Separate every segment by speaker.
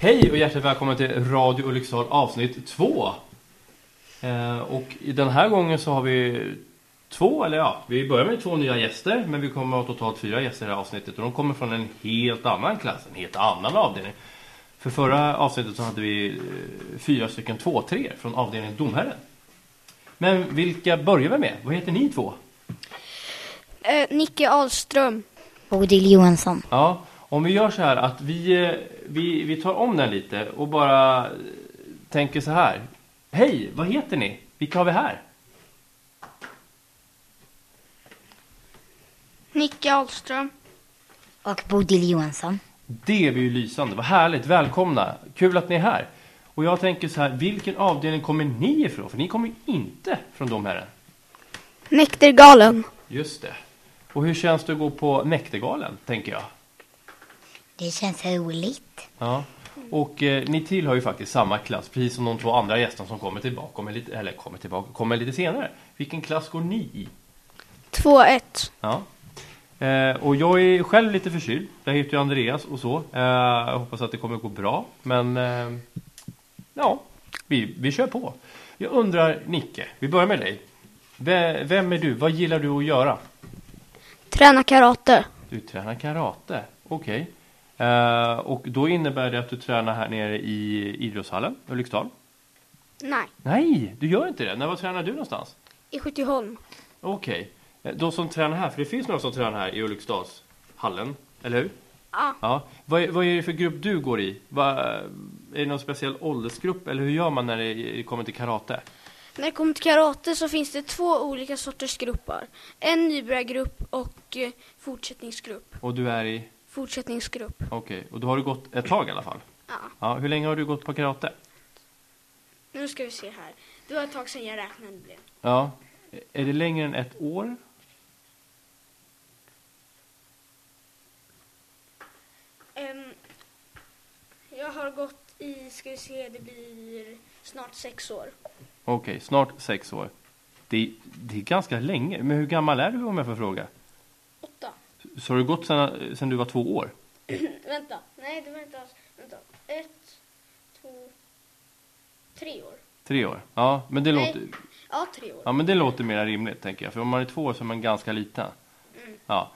Speaker 1: Hej och hjärtligt välkommen till Radio Ulriksdal avsnitt 2. Eh, och i den här gången så har vi två, eller ja, vi börjar med två nya gäster. Men vi kommer att ha totalt fyra gäster i det här avsnittet. Och de kommer från en helt annan klass, en helt annan avdelning. För förra avsnittet så hade vi eh, fyra stycken 2-3 från avdelningen Domherren. Men vilka börjar vi med? Vad heter ni två?
Speaker 2: Eh, Nicke Ahlström.
Speaker 3: Bodil Johansson.
Speaker 1: Ja, om vi gör så här att vi, eh, vi, vi tar om den lite och bara eh, tänker så här. Hej, vad heter ni? Vilka har vi här?
Speaker 2: Nicke Ahlström.
Speaker 3: Och Bodil Johansson.
Speaker 1: Det blir ju lysande. Vad härligt. Välkomna. Kul att ni är här. Och jag tänker så här, vilken avdelning kommer ni ifrån? För ni kommer ju inte från de här.
Speaker 2: Näktergalen.
Speaker 1: Just det. Och hur känns det att gå på Näktergalen, tänker jag?
Speaker 3: Det känns roligt.
Speaker 1: Ja. Och eh, ni tillhör ju faktiskt samma klass, precis som de två andra gästerna som kommer tillbaka, kommer lite, eller kommer tillbaka, kommer lite senare. Vilken klass går ni i?
Speaker 2: 2-1.
Speaker 1: Ja. Eh, och jag är själv lite förkyld. Jag heter ju Andreas och så. Eh, jag hoppas att det kommer gå bra. Men eh, ja, vi, vi kör på. Jag undrar, Nicke, vi börjar med dig. Ve- Vem är du? Vad gillar du att göra?
Speaker 2: Träna karate.
Speaker 1: Du tränar karate. Okej. Eh, och då innebär det att du tränar här nere i idrottshallen, Ulriksdal?
Speaker 2: Nej.
Speaker 1: Nej, du gör inte det. När var tränar du någonstans?
Speaker 2: I Skytteholm.
Speaker 1: Okej. Eh, De som tränar här, för det finns några som tränar här i Ulriksdalshallen, eller hur?
Speaker 2: Ja.
Speaker 1: Ja. Vad, är- vad är det för grupp du går i? Vad- är det någon speciell åldersgrupp eller hur gör man när det kommer till karate?
Speaker 2: När det kommer till karate så finns det två olika sorters grupper. En nybörjargrupp och eh, fortsättningsgrupp.
Speaker 1: Och du är i...
Speaker 2: Fortsättningsgrupp.
Speaker 1: Okej, och då har du gått ett tag i alla fall?
Speaker 2: Ja.
Speaker 1: Ja, hur länge har du gått på karate?
Speaker 2: Nu ska vi se här. Det var ett tag sedan jag räknade det.
Speaker 1: Ja. Är det längre än ett år?
Speaker 2: Ehm, jag har gått i, ska vi se, det blir snart sex år.
Speaker 1: Okej, snart sex år. Det är, det är ganska länge. Men hur gammal är du om jag får fråga?
Speaker 2: Åtta.
Speaker 1: Så har du gått sedan, sedan du var två år?
Speaker 2: Vänta, nej det var inte alls. Vänta. Ett, två, tre år.
Speaker 1: Tre år? Ja, men det
Speaker 2: Nej.
Speaker 1: låter...
Speaker 2: Ja, tre år.
Speaker 1: Ja, men det låter mer rimligt, tänker jag. För om man är två år så är man ganska liten. Ja.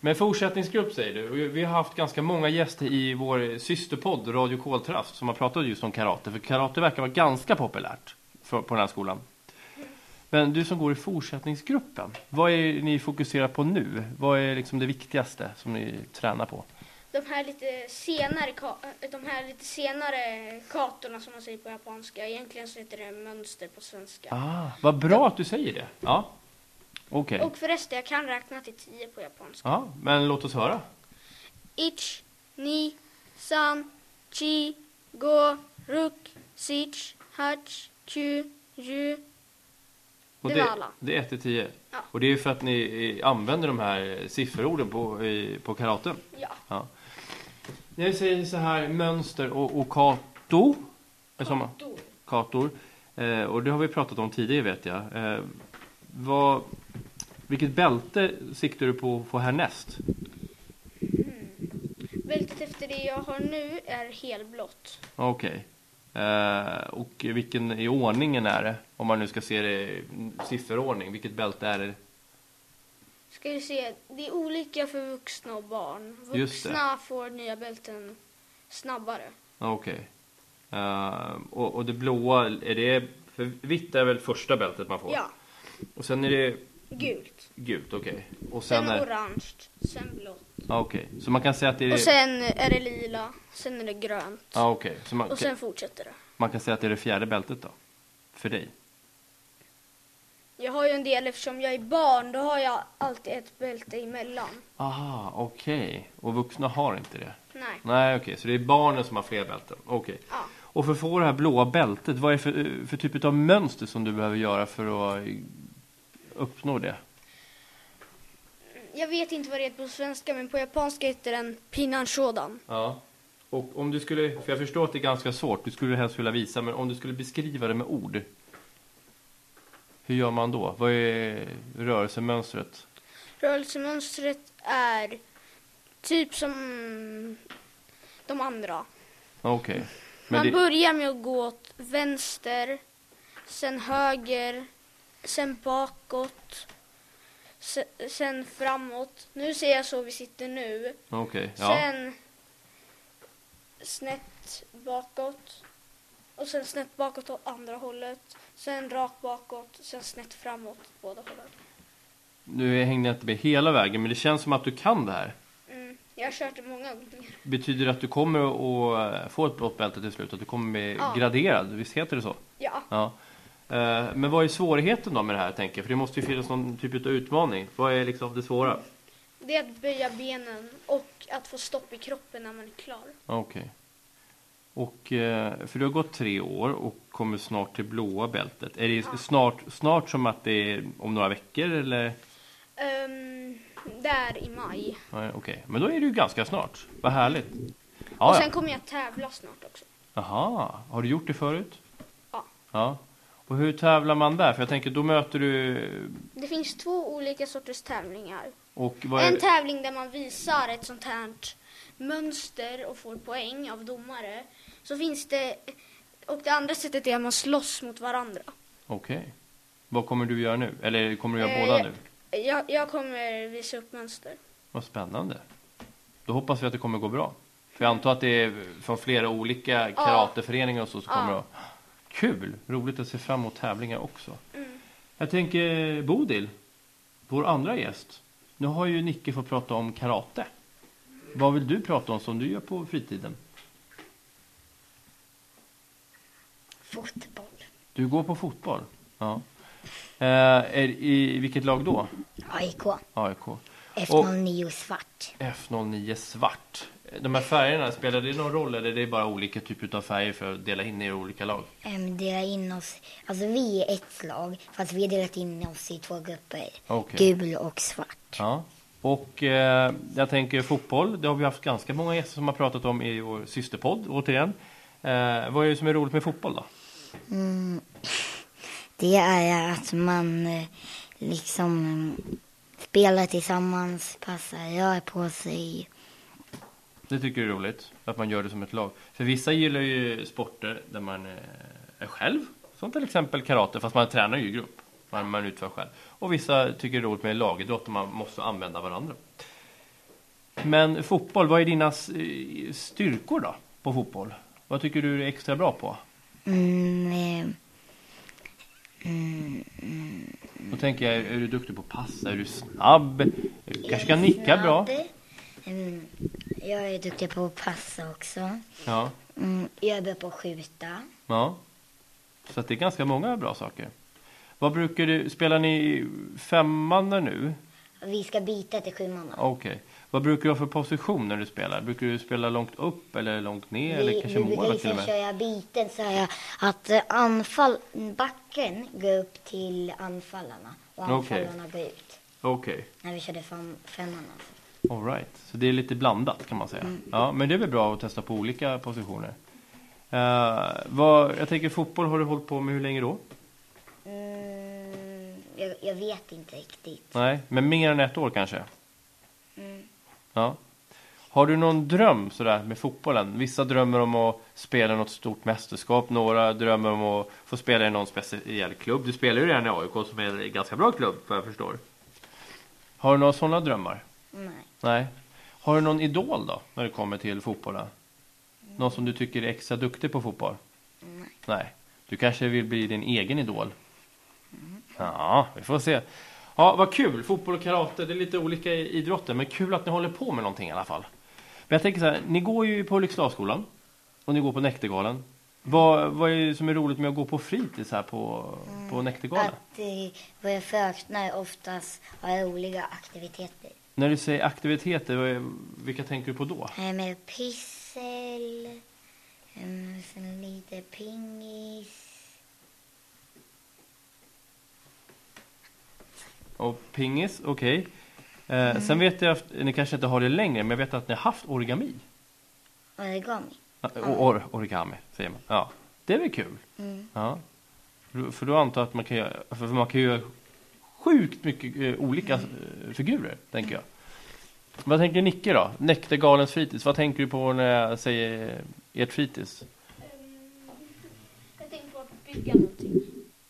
Speaker 1: Men fortsättningsgrupp säger du. Och Vi har haft ganska många gäster i vår systerpodd Radio Koltrast som har pratat just om karate. För karate verkar vara ganska populärt för, på den här skolan. Men du som går i fortsättningsgruppen, vad är ni fokuserar på nu? Vad är liksom det viktigaste som ni tränar på?
Speaker 2: De här lite senare, ka- äh, de här lite senare katorna som man säger på japanska. Egentligen så heter det mönster på svenska.
Speaker 1: Ah, vad bra att du säger det. Ja, okej.
Speaker 2: Och förresten, jag kan räkna till tio på japanska.
Speaker 1: Ja, men låt oss höra.
Speaker 2: Ich, ni, san, chi, go, ruk, sich, hach, ku, ju.
Speaker 1: Och
Speaker 2: Det
Speaker 1: det,
Speaker 2: var alla.
Speaker 1: det är 1 till 10.
Speaker 2: Ja.
Speaker 1: Och det är ju för att ni eh, använder de här eh, sifferorden på, i, på karaten.
Speaker 2: Ja,
Speaker 1: Ja. Jag säger så här, mönster och, och kato. Är samma?
Speaker 2: då.
Speaker 1: Kator. Eh, och det har vi pratat om tidigare vet jag. Eh, vad, vilket bälte siktar du på att få härnäst?
Speaker 2: Bältet efter det jag har nu är helblått.
Speaker 1: Okej. Eh, och vilken i ordningen är det? Om man nu ska se det i sifferordning. Vilket bälte är det?
Speaker 2: Ska vi se, det är olika för vuxna och barn.
Speaker 1: Just det.
Speaker 2: Vuxna får nya bälten snabbare.
Speaker 1: Ja, Okej. Eh, och, och det blåa, är det, för vitt är väl första bältet man får?
Speaker 2: Ja,
Speaker 1: Och sen är det
Speaker 2: gult.
Speaker 1: gult, okej. Och Mm. sen,
Speaker 2: Sen
Speaker 1: är,
Speaker 2: orange, sen blått.
Speaker 1: ja, okej. Så man kan säga att det är
Speaker 2: Och sen är det lila, sen är det grönt.
Speaker 1: Ja, okej. Så man,
Speaker 2: Och sen fortsätter det.
Speaker 1: man kan säga att det är det fjärde bältet då? För dig?
Speaker 2: Jag har ju en del, eftersom jag är barn, då har jag alltid ett bälte emellan.
Speaker 1: Aha, okej. Och vuxna har inte det?
Speaker 2: Nej.
Speaker 1: Nej, okej. Så det är barnen som har fler bälten? Okej.
Speaker 2: Ja.
Speaker 1: Och för att få det här blåa bältet, vad är det för, för typ av mönster som du behöver göra för att uppnå det?
Speaker 2: Jag vet inte vad det heter på svenska, men på japanska heter den pinanshodan.
Speaker 1: Ja. Och om du skulle, för jag förstår att det är ganska svårt, du skulle helst vilja visa, men om du skulle beskriva det med ord. Hur gör man då? Vad är rörelsemönstret?
Speaker 2: Rörelsemönstret är typ som de andra.
Speaker 1: Okej. Men
Speaker 2: Man
Speaker 1: det,
Speaker 2: börjar med att gå åt vänster, sen höger, sen bakåt, se- sen framåt. Nu ser jag så vi sitter nu.
Speaker 1: okej, ja.
Speaker 2: Sen snett bakåt. Och sen snett bakåt åt andra hållet. Sen rakt bakåt, sen snett framåt åt båda hållen.
Speaker 1: Nu hängde jag inte med hela vägen, men det känns som att du kan det här.
Speaker 2: Mm. Jag har kört det många gånger.
Speaker 1: Betyder det att du kommer att eh, få ett blått bälte till slut? Att du kommer bli
Speaker 2: Ja.
Speaker 1: graderad? Visst heter det så?
Speaker 2: Ja.
Speaker 1: Ja. Eh, Men vad är svårigheten då med det här, tänker jag? För det måste ju finnas någon typ av utmaning. Vad är liksom det svåra?
Speaker 2: Det är att böja benen och att få stopp i kroppen när man är klar.
Speaker 1: Okej. Och, eh, för du har gått tre år och kommer snart till blåa bältet. Är det snart, snart som att det är om några veckor eller?
Speaker 2: Ehm, där i maj.
Speaker 1: Nej, Okej, men då är det ju ganska snart. Vad härligt.
Speaker 2: och
Speaker 1: Ja,
Speaker 2: sen
Speaker 1: ja.
Speaker 2: kommer jag tävla snart också.
Speaker 1: Aha, har du gjort det förut?
Speaker 2: Ja.
Speaker 1: Ja. Och hur tävlar man där? För jag tänker, då möter du...
Speaker 2: Det finns två olika sorters tävlingar.
Speaker 1: Och vad är...
Speaker 2: En tävling där man visar ett sånt här mönster och får poäng av domare. Så finns det... Och det andra sättet är att man slåss mot varandra.
Speaker 1: Okej. Vad kommer du göra nu? Eller kommer du göra
Speaker 2: Eh,
Speaker 1: båda
Speaker 2: jag-
Speaker 1: nu?
Speaker 2: Jag, jag kommer visa upp mönster.
Speaker 1: Vad spännande. Då hoppas vi att det kommer gå bra. För jag antar att det är från flera olika karateföreningar och så, så
Speaker 2: Ja.
Speaker 1: kommer det att... Kul! Roligt att se fram emot tävlingar också. Jag tänker Bodil, vår andra gäst. Nu har ju Nicke fått prata om karate. Vad vill du prata om som du gör på fritiden?
Speaker 3: Fotboll.
Speaker 1: Du går på fotboll? Ja. Eh, är, I vilket lag då?
Speaker 3: AIK.
Speaker 1: AIK?
Speaker 3: F09 svart.
Speaker 1: F09 svart. De här färgerna, spelar det någon roll eller är det bara olika typer av färger för att dela in er i olika lag?
Speaker 3: Um, dela in oss. Alltså vi är ett lag. Fast vi har delat in oss i två grupper.
Speaker 1: Okej.
Speaker 3: Gul och svart.
Speaker 1: Ja. Och eh, jag tänker fotboll, det har vi haft ganska många gäster som har pratat om i vår systerpodd, återigen. Eh, vad är det som är roligt med fotboll då?
Speaker 3: Mm. Det är att man eh, liksom mm, spelar tillsammans, passar, rör på sig.
Speaker 1: Det tycker jag är roligt, att man gör det som ett lag. För vissa gillar ju sporter där man eh, är själv, som till exempel karate, fast man tränar ju i grupp. Man, man utför själv. Och vissa tycker det är roligt med lagidrott, där man måste använda varandra. Men fotboll, vad är dina eh, styrkor då, på fotboll? Vad tycker du är extra bra på?
Speaker 3: Mm, eh, mm,
Speaker 1: Då tänker jag, är du duktig på att passa? Är du snabb? Du kanske kan nicka bra?
Speaker 3: Mm, jag är duktig på att passa också.
Speaker 1: Ja.
Speaker 3: Mm, jag är bra på att skjuta.
Speaker 1: Ja. Så att det är ganska många bra saker. Vad brukar du, spelar ni i femman nu?
Speaker 3: Vi ska byta till sjumanna.
Speaker 1: Okej. Vad brukar du ha för position när du spelar? Brukar du spela långt upp eller långt ner eller kanske
Speaker 3: vi brukar
Speaker 1: målet till och
Speaker 3: liksom
Speaker 1: med?
Speaker 3: köra byten så här att eh, anfall, backen går upp till anfallarna och
Speaker 1: Okej.
Speaker 3: anfallarna går ut.
Speaker 1: Okej.
Speaker 3: När vi körde fem, femman alltså.
Speaker 1: All right. Så det är lite blandat kan man säga. Ja, men det är väl bra att testa på olika positioner. Eh, vad, jag tänker fotboll har du hållit på med hur länge då?
Speaker 3: Mm, jag, jag vet inte riktigt.
Speaker 1: Nej, men mer än ett år kanske?
Speaker 3: Mm.
Speaker 1: Ja. Har du någon dröm sådär med fotbollen? Vissa drömmer om att spela i något stort mästerskap, några drömmer om att få spela i någon speciell klubb. Du spelar ju redan i AIK som är en ganska bra klubb vad jag förstår. Har du några sådana drömmar?
Speaker 3: Nej.
Speaker 1: Nej. Har du någon idol då, när det kommer till fotbollen? Någon som du tycker är extra duktig på fotboll?
Speaker 3: Nej.
Speaker 1: Nej. Du kanske vill bli din egen idol? Ja, vi får se. Ja, vad kul! Fotboll och karate, det är lite olika i- idrotter, men kul att ni håller på med någonting i alla fall. Men jag tänker så här, ni går ju på Ulriksdalsskolan och ni går på Näktergalan. Vad, vad är det som är roligt med att gå på fritids här på, på Näktergalan?
Speaker 3: Att eh, våra fröknar oftast har roliga aktiviteter.
Speaker 1: När du säger aktiviteter, vad är- vilka tänker du på då?
Speaker 3: Eh, Med pyssel, mm, sen lite pingis.
Speaker 1: Och pingis, okej. Eh, Sen vet jag att ni kanske inte har det längre, men jag vet att ni har haft origami.
Speaker 3: Origami.
Speaker 1: Eh, och Or, origami, säger man. Ja, det är väl kul?
Speaker 3: Mm.
Speaker 1: Ja. För- För då antar jag att man kan göra, för man kan göra sjukt mycket eh, olika eh, figurer, tänker jag. Vad tänker Nicke då? Näktergalens fritids, vad tänker du på när jag säger Ert fritids?
Speaker 2: Ehm, Jag tänkte på att bygga någonting.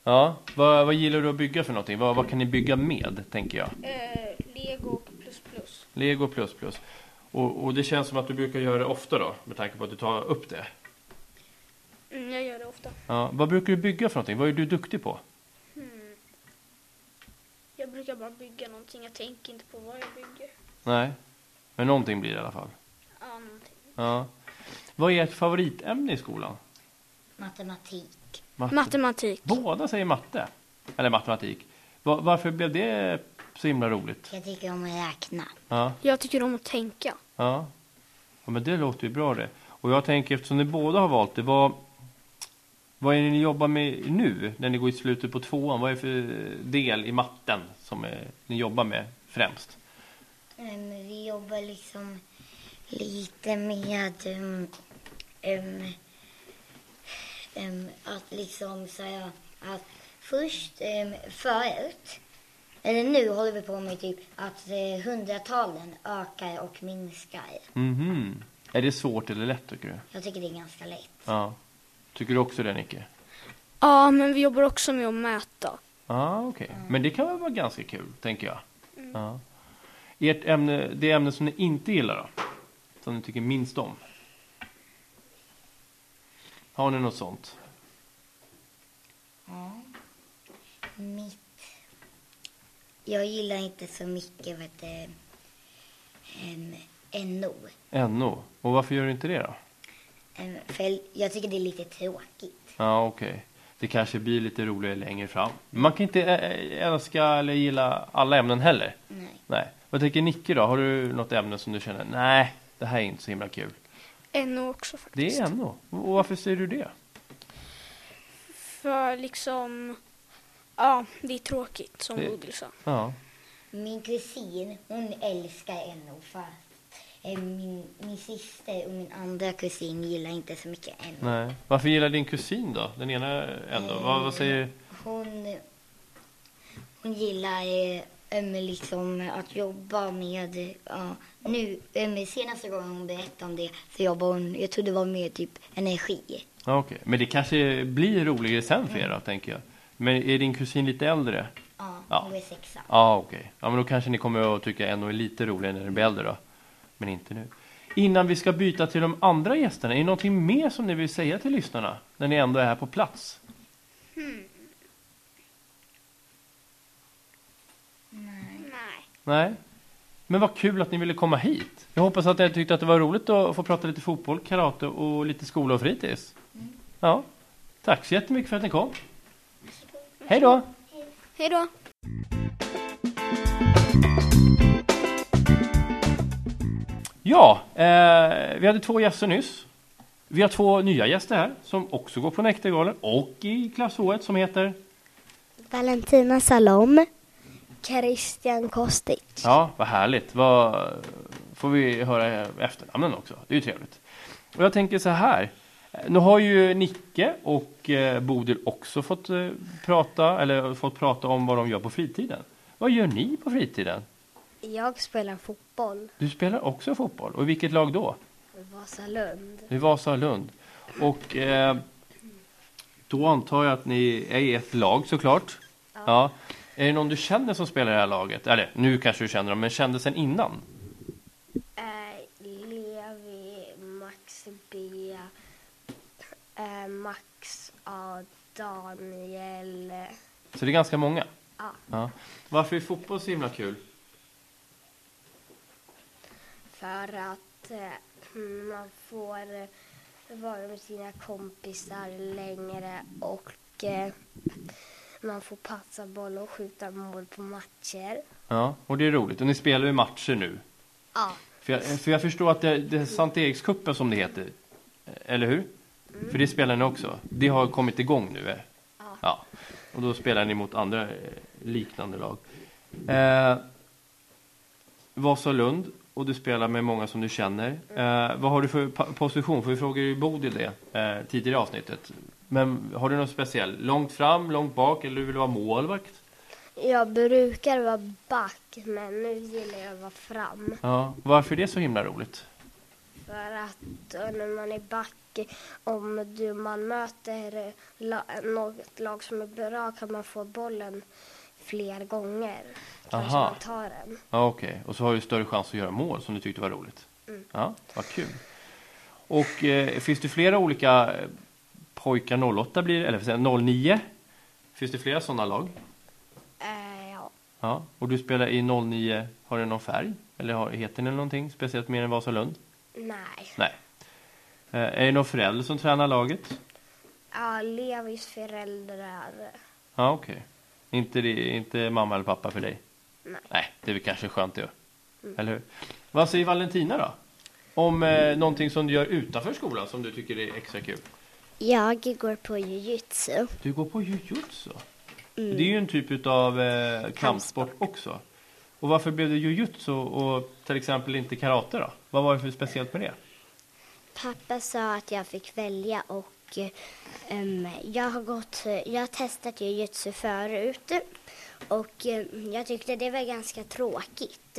Speaker 1: Ja, vad, vad gillar du att bygga för någonting? Vad, vad kan ni bygga med, tänker jag?
Speaker 2: Ehm, Lego och plus plus.
Speaker 1: Lego plus plus. Och, och det känns som att du brukar göra det ofta då, med tanke på att du tar upp det.
Speaker 2: Mm, jag gör det ofta.
Speaker 1: Ja, vad brukar du bygga för någonting? Vad är du duktig på?
Speaker 2: Hmm. Jag brukar bara bygga någonting. Jag tänker inte på vad jag bygger.
Speaker 1: Nej, men någonting blir det i alla fall.
Speaker 2: Ja, någonting.
Speaker 1: Ja. Vad är ert favoritämne i skolan?
Speaker 3: Matematik.
Speaker 1: Matte.
Speaker 2: Matematik.
Speaker 1: Båda säger matte. Eller matematik. Va- varför blev det så himla roligt?
Speaker 3: Jag tycker om att räkna.
Speaker 1: Ja,
Speaker 2: Jag tycker om att tänka.
Speaker 1: ja. ja men det låter ju bra det. Och jag tänker, eftersom ni båda har valt det, vad, vad är det ni jobbar med nu när ni går i slutet på tvåan? Vad är det för del i matten som eh, ni jobbar med främst?
Speaker 3: Ehm, vi jobbar liksom lite med ehm, ehm, ehm, att liksom säga att först um, förut, eller nu håller vi på med typ att eh, hundratalen ökar och minskar.
Speaker 1: Mhm. Är det svårt eller lätt tycker du?
Speaker 3: Jag tycker det är ganska lätt.
Speaker 1: Ja. Tycker du också det Nicke?
Speaker 2: Ja, men vi jobbar också med att mäta.
Speaker 1: Ja, ah, okej. Men det kan väl vara ganska kul, tänker jag. Ja. Ert ämne, det ämne som ni inte gillar då? Som ni tycker minst om? Har ni något sånt?
Speaker 3: Ja. Mitt. Jag gillar inte så mycket vad det um, NO.
Speaker 1: NO. Och varför gör du inte det då?
Speaker 3: Ehm, för jag tycker det är lite tråkigt.
Speaker 1: Ja, okej. Det kanske blir lite roligare längre fram. Man kan inte eh, älska eller gilla alla ämnen heller.
Speaker 3: Nej.
Speaker 1: Nej. Vad tänker Nicke då? Har du något ämne som du känner, nej, det här är inte så himla kul?
Speaker 2: NO också faktiskt.
Speaker 1: Det är NO. Och varför säger du det?
Speaker 2: För liksom, ja, det är tråkigt som
Speaker 1: Det-
Speaker 2: Google sa.
Speaker 1: Ja.
Speaker 3: Min kusin, hon älskar NO fast eh, min, min syster och min andra kusin gillar inte så mycket NO.
Speaker 1: Nej. Varför gillar din kusin då? Den ena ändå?
Speaker 3: Eh,
Speaker 1: Vad, vad säger...
Speaker 3: Hon, hon gillar eh, em, liksom att jobba med, eh, ja, nu, um, senaste gången hon berättade om det så jobbade hon, jag tror det var med typ energi.
Speaker 1: Ja, okej. Men det kanske blir roligare sen för er då, tänker jag. Men är din kusin lite äldre?
Speaker 3: Ja,
Speaker 1: Ja.
Speaker 3: hon är sexa.
Speaker 1: Ja, okej. Ja, men då kanske ni kommer att tycka NO är lite roligare när ni blir äldre då. Men inte nu. Innan vi ska byta till de andra gästerna, är det någonting mer som ni vill säga till lyssnarna? När ni ändå är här på plats?
Speaker 2: Nej.
Speaker 1: Nej? Men vad kul att ni ville komma hit. Jag hoppas att ni tyckte att det var roligt att få prata lite fotboll, karate och lite skola och fritids. Ja. Tack så jättemycket för att ni kom. Hej då!
Speaker 2: Hej då.
Speaker 1: Ja, eh, vi hade två gäster nyss. Vi har två nya gäster här som också går på Näktergalen och i klass H1 som heter...
Speaker 4: Valentina Salom. Christian Kostic.
Speaker 1: Ja, vad härligt. Vad får vi höra efternamnen också? Det är ju trevligt. Och jag tänker så här. Eh, Nu har ju Nicke och eh, Bodil också fått eh, prata eller fått prata om vad de gör på fritiden. Vad gör ni på fritiden?
Speaker 4: Jag spelar fotboll
Speaker 1: Du spelar också fotboll och i vilket lag då?
Speaker 4: i Vasalund.
Speaker 1: I Vasalund. Och eh, då antar jag att ni är i ett lag såklart. Ja. Är det någon du känner som spelar i det här laget? Eller nu kanske du känner dem, men kände sen innan?
Speaker 4: Eh, Levi, Max B, Max A, Daniel.
Speaker 1: Så det är ganska många.
Speaker 4: Ja.
Speaker 1: Varför är fotboll så himla kul?
Speaker 4: För att eh, man får eh, vara med sina kompisar längre och eh, man får passa boll och skjuta mål på matcher.
Speaker 1: Ja, och det är roligt. Och ni spelar ju matcher nu.
Speaker 4: Ja.
Speaker 1: För jag, för jag förstår att det, det är Sankt Erikscupen som det heter. Eller hur? För det spelar ni också. Det har kommit igång nu. eh?
Speaker 4: Mm. Ja.
Speaker 1: ja. Och då spelar ni mot andra eh, liknande lag. Eh, Vasalund och du spelar med många som du känner.
Speaker 4: Mm.
Speaker 1: Eh, vad har du för pa- position? För vi frågade ju Bodil det eh, tidigare i avsnittet. Men har du något speciellt? Långt fram, långt bak eller du vill vara målvakt?
Speaker 4: Jag brukar vara back, men nu gillar jag att vara fram.
Speaker 1: Ja. Varför är det så himla roligt?
Speaker 4: För att eh, när man är back, om du, man möter eh, la, något lag som är bra kan man få bollen fler gånger. Kanske
Speaker 1: Aha.
Speaker 4: man tar den.
Speaker 1: Ja, Okej, och så har du större chans att göra mål som du tyckte var roligt.
Speaker 4: Mm.
Speaker 1: Ja, vad kul. Och eh, finns det flera olika eh, pojkar 08 blir det, eller vad säger jag, 09? Finns det flera sådana lag?
Speaker 4: Eh, ja.
Speaker 1: Ja, och du spelar i 09, har du någon färg? Eller har, heter ni någonting speciellt mer än Vasalund?
Speaker 4: Nej.
Speaker 1: Nej. Eh, är det någon förälder som tränar laget?
Speaker 4: Ja, Levis föräldrar.
Speaker 1: Ja, okej. Inte, det- inte mamma eller pappa för dig?
Speaker 4: Nej.
Speaker 1: Nej, det är väl kanske skönt det. Eller hur? Vad säger Valentina då? Om eh, någonting som du gör utanför skolan som du tycker är extra kul?
Speaker 5: Jag går på jujutsu.
Speaker 1: Du går på jujutsu? Det är ju en typ av eh, kampsport också. Och varför blev det jujutsu och till exempel inte karate då? Vad var det för speciellt med det?
Speaker 5: Pappa sa att jag fick välja och eh, em, jag har gått, eh, jag har testat jujutsu förut och em, jag tyckte det var ganska tråkigt.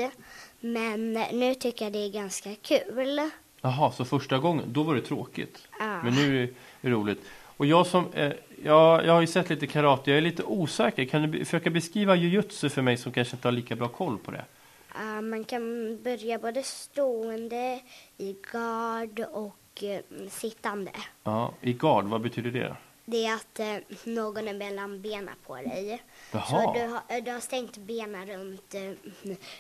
Speaker 5: Men nu tycker jag det är ganska kul.
Speaker 1: Jaha, så första gången, då var det tråkigt.
Speaker 5: Ja.
Speaker 1: Men nu är det roligt. Och jag som, eh, jag, jag har ju sett lite karate, jag är lite osäker. Kan du be- försöka beskriva jujutsu för mig som kanske inte har lika bra koll på det?
Speaker 5: Ja, man kan börja både stående, i gard och em, sittande.
Speaker 1: Ja, i gard, vad betyder det?
Speaker 5: Det är att eh, någon är mellan benen på dig.
Speaker 1: Jaha.
Speaker 5: Så du har, eh, du har stängt benen runt, eh,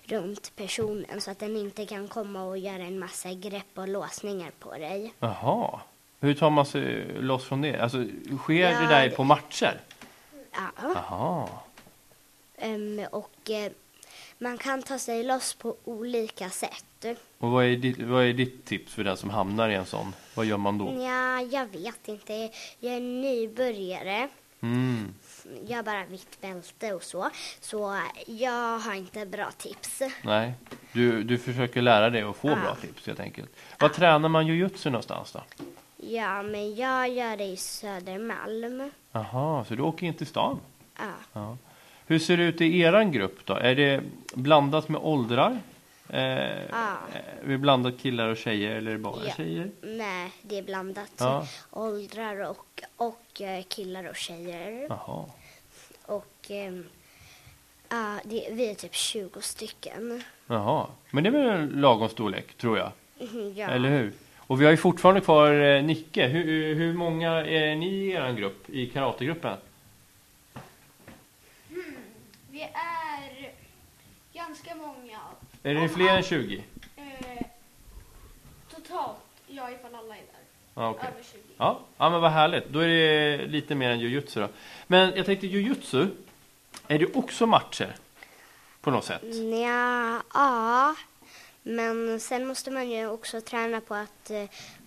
Speaker 5: runt personen så att den inte kan komma och göra en massa grepp och låsningar på dig.
Speaker 1: Jaha. Hur tar man sig loss från det? Alltså, sker det
Speaker 5: Ja,
Speaker 1: där
Speaker 5: det-
Speaker 1: på matcher?
Speaker 5: Ja.
Speaker 1: Jaha.
Speaker 5: Em, och eh, man kan ta sig loss på olika sätt.
Speaker 1: Och vad är, ditt, vad är ditt tips för den som hamnar i en sån? Vad gör man då?
Speaker 5: Ja, jag vet inte. Jag är nybörjare.
Speaker 1: Mm.
Speaker 5: Jag har bara mitt bälte och så. Så jag har inte bra tips.
Speaker 1: Nej, du, du försöker lära dig och få bra tips helt enkelt. Vad tränar man jujutsu någonstans då?
Speaker 5: Ja, men jag gör det i Södermalm.
Speaker 1: Jaha, så du åker in till stan?
Speaker 5: Ja.
Speaker 1: Ja. Hur ser det ut i eran grupp då? Är det blandat med åldrar? Eh, Är det blandat killar och tjejer eller är det bara
Speaker 5: Ah. Ja.
Speaker 1: tjejer?
Speaker 5: Nej, det är blandat.
Speaker 1: Ja.
Speaker 5: Åldrar och, och eh, killar och tjejer.
Speaker 1: Jaha.
Speaker 5: Och ehm, ja, det, vi är typ 20 stycken.
Speaker 1: Jaha. Men det är väl en lagom storlek, tror jag?
Speaker 5: Mhm, Ja.
Speaker 1: Eller hur? Och vi har ju fortfarande kvar eh, Nicke. Hur, hur många är ni i eran grupp, i karategruppen?
Speaker 2: Vi är ganska många.
Speaker 1: Är det fler än 20?
Speaker 2: Eh, totalt, ja ifall alla är där.
Speaker 1: Ja, okej.
Speaker 2: Över 20.
Speaker 1: Ja, ja, men vad härligt. Då är det lite mer än jujutsu då. Men jag tänkte jujutsu, är det också matcher? På något sätt?
Speaker 5: Nja, ja. Men sen måste man ju också träna på att eh,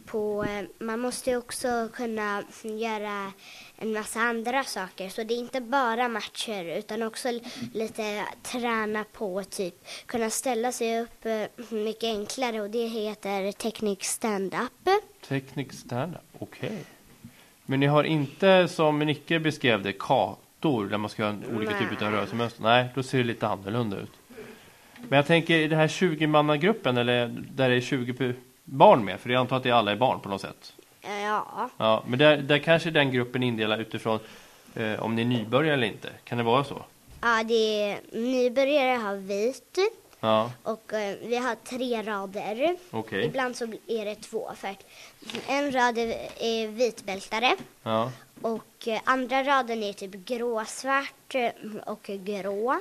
Speaker 5: på, eh, man måste ju också kunna göra en massa andra saker. Så det är inte bara matcher utan också l- lite träna på typ kunna ställa sig upp eh, mycket enklare och det heter teknik stand-up.
Speaker 1: Teknik standup, okej. Men ni har inte, som Nicke beskrev det, kartor där man ska ha olika typer av rörelsemönster? Nej, då ser det lite annorlunda ut. Men jag tänker i den här 20-mannagruppen, eller där det är 20 pe- barn med, för jag antar att det alla är barn på något sätt.
Speaker 5: Eh, Ja,
Speaker 1: Ja, men där, där kanske den gruppen indelar utifrån eh, om ni är nybörjare eller inte. Kan det vara så?
Speaker 5: ja det är, nybörjare har vit
Speaker 1: Ja,
Speaker 5: och eh, vi har tre rader.
Speaker 1: okej.
Speaker 5: Ibland så är det två. För att en rad är- är vitbältare
Speaker 1: Ja,
Speaker 5: och eh, andra raden är typ gråsvart eh, och grå.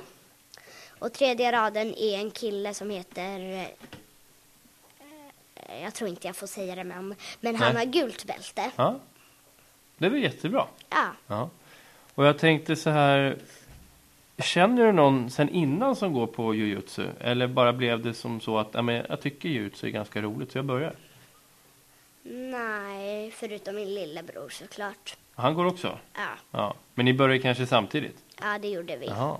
Speaker 5: Och tredje raden är en kille som heter... eh, Jag tror inte jag får säga det, men, men han
Speaker 1: Nej.
Speaker 5: har gult bälte.
Speaker 1: ja. Det är väl jättebra.
Speaker 5: Ja.
Speaker 1: Ja. Och jag tänkte så här. Känner du någon sen innan som går på jujutsu? Eller bara blev det som så att ja, men jag tycker jujutsu är ganska roligt så jag börjar?
Speaker 5: Nej, förutom min lillebror såklart.
Speaker 1: Han går också?
Speaker 5: Ja,
Speaker 1: Ja. Men ni börjar kanske samtidigt?
Speaker 5: ja det gjorde vi.
Speaker 1: Jaha.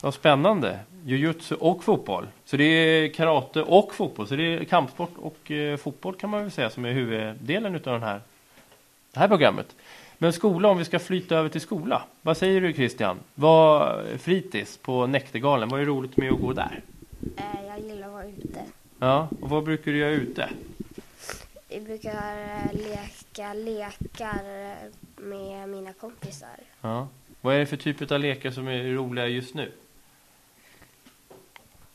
Speaker 1: Vad spännande. Jujutsu och fotboll. Så det är karate och fotboll. Så det är kampsport och eh, fotboll kan man väl säga som är huvuddelen utav den här, det här programmet. Men skola, om vi ska flyta över till skola. Vad säger du Christian? Vad fritids på Näktergalen, vad är roligt med att gå där?
Speaker 4: Eh, jag gillar att vara ute.
Speaker 1: Ja, och vad brukar du göra ute?
Speaker 4: Vi brukar eh, leka lekar eh, med mina kompisar.
Speaker 1: Ja. Vad är det för typ av lekar som är roliga just nu?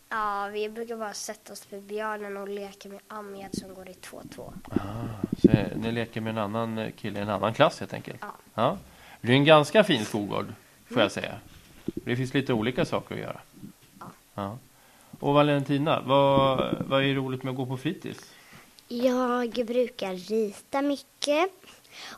Speaker 4: Ja, vi brukar bara sätta oss på björnen och leka med Amjad som går i 2-2.
Speaker 1: Så ni leker med en annan eh, kille i en annan klass helt enkelt?
Speaker 4: Ja.
Speaker 1: ja. Det är en ganska fin skolgård, får jag säga. Det finns lite olika saker att göra.
Speaker 4: Ja.
Speaker 1: Ja. Och Valentina, vad, vad är roligt med att gå på fritids?
Speaker 5: Jag brukar rita mycket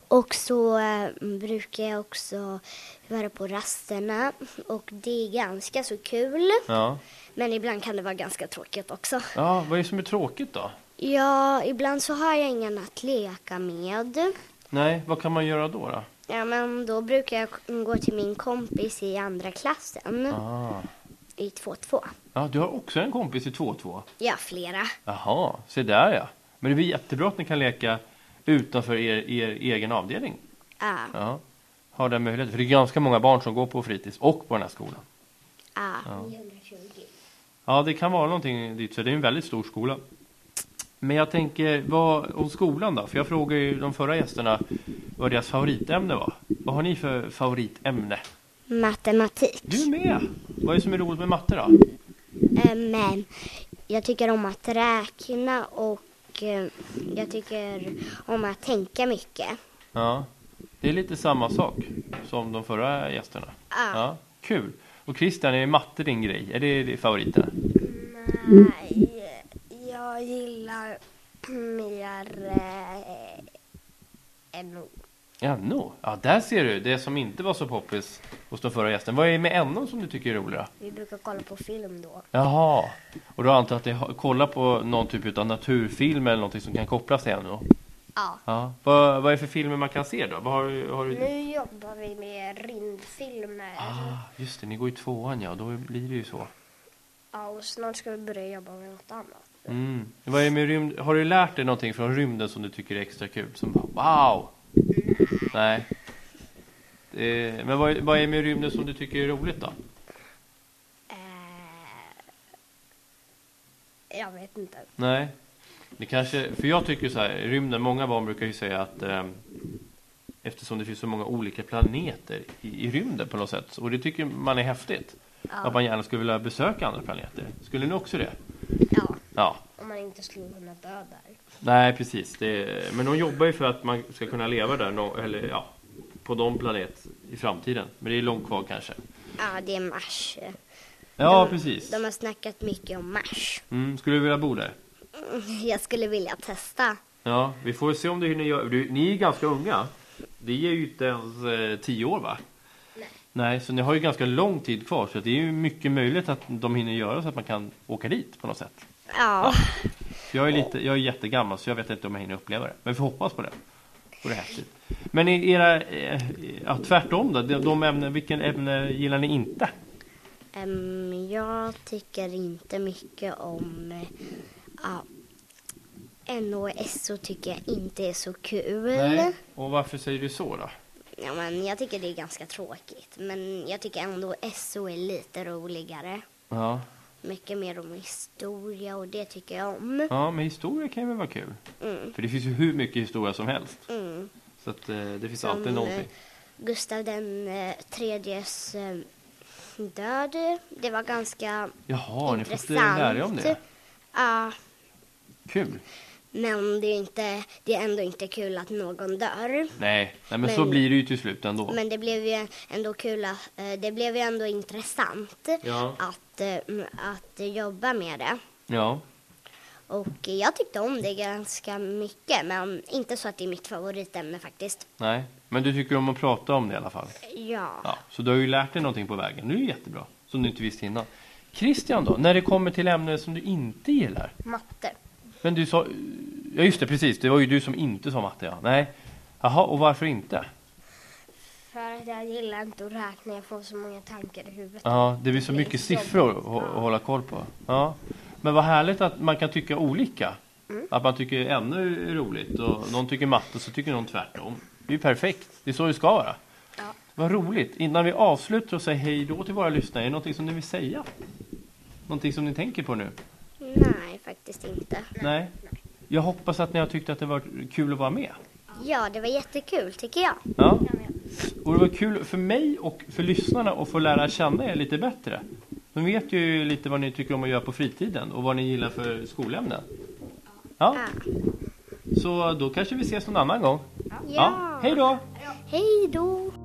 Speaker 5: och så eh, brukar jag också vara på rasterna och det är ganska så kul.
Speaker 1: Ja.
Speaker 5: Men ibland kan det vara ganska tråkigt också.
Speaker 1: ja, vad är det som är tråkigt då?
Speaker 5: Ja, ibland så har jag ingen att leka med.
Speaker 1: Nej, vad kan man göra då? då?
Speaker 5: Ja, men då brukar jag k- gå till min kompis i andra klassen
Speaker 1: Ah.
Speaker 5: i 2-2.
Speaker 1: Ja, du har också en kompis i 2-2.
Speaker 5: Ja, flera.
Speaker 1: Jaha, se där ja. Men det blir jättebra att ni kan leka utanför er, er egen avdelning.
Speaker 5: Ja,
Speaker 1: Ja. Har den möjligheten. För det är ganska många barn som går på fritids och på den här skolan.
Speaker 5: ja.
Speaker 1: Ja, det kan vara någonting dit, för det är en väldigt stor skola. Men jag tänker, vad om skolan då? För jag frågade ju de förra gästerna vad deras favoritämne var. Vad har ni för favoritämne?
Speaker 5: Matematik.
Speaker 1: Du med! Vad är det som är roligt med matte då?
Speaker 5: Eh, Men jag tycker om att räkna och eh, jag tycker om att tänka mycket.
Speaker 1: Ja, det är lite samma sak som de förra gästerna.
Speaker 5: Ja.
Speaker 1: Ja, kul! Och Christian, är matte din grej? Är det din favoriterna?
Speaker 4: Nej, jag gillar mer eh, NO.
Speaker 1: Ja, no. ja, där ser du! Det som inte var så poppis hos de förra gästerna. Vad är det med NO som du tycker är roligare?
Speaker 4: Vi brukar kolla på film då.
Speaker 1: Jaha, och då antar jag att ni har- kollar på någon typ av naturfilm eller någonting som kan kopplas till NO?
Speaker 4: Ja.
Speaker 1: Ja. Vad, vad är det för filmer man kan se då? Vad har, du- har du...
Speaker 4: Nu jobbar vi med rymdfilmer.
Speaker 1: Mm. Ah, just det, ni går i tvåan ja, då blir det ju så.
Speaker 4: Ja, och snart ska vi börja jobba med något annat.
Speaker 1: Mm. Vad är det med rymd... Har du lärt dig någonting från rymden som du tycker är extra kul? Som bara, wow! Nej. Eh, Men vad, är- vad är det med rymden som du tycker är roligt då?
Speaker 4: Eh, Jag vet inte.
Speaker 1: Nej. Det kanske, för jag tycker så här, rymden, många barn brukar ju säga att eh, eftersom det finns så många olika planeter i, i rymden på något sätt. Och det tycker man är häftigt. Att man gärna skulle vilja besöka andra planeter. Skulle ni också det?
Speaker 4: Ja,
Speaker 1: Ja.
Speaker 4: om man inte skulle kunna dö där.
Speaker 1: Nej, precis. Det, men de jobbar ju för att man ska kunna leva där, nå- eller ja, på någon planet i framtiden. Men det är långt kvar kanske.
Speaker 5: Ja, det är Mars.
Speaker 1: Ja,
Speaker 5: de,
Speaker 1: precis.
Speaker 5: De har snackat mycket om Mars.
Speaker 1: Mm, skulle du vilja bo där?
Speaker 5: Jag skulle vilja testa.
Speaker 1: Ja, vi får se om du hinner göra... Du, ni är ganska unga. Det är ju inte ens eh, tio år, va? Nej. Nej, så ni har ju ganska lång tid kvar. Så det är ju mycket möjligt att de hinner göra så att man kan åka dit på något sätt.
Speaker 5: Ja,
Speaker 1: För Jag är, lite, jag är jättegammal så jag vet inte om jag hinner uppleva det. Men vi får hoppas på det. Och det är häftigt.
Speaker 5: Mm.
Speaker 1: Men i era, eh, ja, tvärtom då, de, de ämnen, vilken ämne gillar ni inte?
Speaker 5: Ehm, jag tycker inte mycket om... eh, Ja, NO och SO tycker jag inte är så kul.
Speaker 1: Och varför säger du så då?
Speaker 5: Ja, men jag tycker det är ganska tråkigt. Men jag tycker ändå SO är lite roligare.
Speaker 1: Ja,
Speaker 5: Mycket mer om historia och det tycker jag om.
Speaker 1: ja men historia kan ju väl vara kul?
Speaker 5: Mm.
Speaker 1: För det finns ju hur mycket historia som helst.
Speaker 5: Mm.
Speaker 1: Så att, eh, det finns
Speaker 5: Som,
Speaker 1: alltid någonting.
Speaker 5: Gustav den eh, tredjes eh, död. Det var ganska
Speaker 1: Jaha, ni
Speaker 5: intressant.
Speaker 1: får lära er om det.
Speaker 5: Ja,
Speaker 1: Kul.
Speaker 5: men det är, inte, det är ändå inte kul att någon dör.
Speaker 1: Nej, nej men, så
Speaker 5: Men-
Speaker 1: blir det ju till slut ändå.
Speaker 5: Men det blev ju ändå kul, att- eh, det blev ju ändå intressant
Speaker 1: Ja.
Speaker 5: att, eh, att jobba med det.
Speaker 1: Ja.
Speaker 5: Och jag tyckte om det ganska mycket, men inte så att det är mitt favoritämne faktiskt.
Speaker 1: Nej, men du tycker om att prata om det i alla fall?
Speaker 5: Ja.
Speaker 1: Ja, så du har ju lärt dig någonting på vägen. Det är ju jättebra. Som du inte visste innan. Christian då, när det kommer till ämnen som du inte gillar?
Speaker 4: Matte.
Speaker 1: Men du sa... Ja just det, precis. Det var ju du som inte sa matte ja. Nej. Jaha, och varför inte?
Speaker 4: För att jag gillar inte att räkna, jag får så många tankar i huvudet.
Speaker 1: Ja, det blir så
Speaker 4: Det är
Speaker 1: mycket
Speaker 4: så jobbigt.
Speaker 1: siffror att hå- att hålla koll på. Ja. Men vad härligt att man kan tycka olika. Att man tycker ännu är roligt. Och någon tycker matte så tycker någon tvärtom. Det är ju perfekt. Det är så det ska vara.
Speaker 4: Ja.
Speaker 1: Vad roligt. Innan vi avslutar och säger hej då till våra lyssnare. Är det någonting som ni vill säga? Någonting som ni tänker på nu?
Speaker 5: Nej, faktiskt inte.
Speaker 1: Nej. Jag hoppas att ni har tyckt att det var kul att vara med.
Speaker 5: Ja, det var jättekul tycker jag.
Speaker 1: Ja. Och det var kul för mig och för lyssnarna att få lära känna er lite bättre. De vet ju lite vad ni tycker om att göra på fritiden och vad ni gillar för skolämnen. Ja. Så då kanske vi ses någon annan gång.
Speaker 5: Ja.
Speaker 1: Hej då!
Speaker 5: Hej då!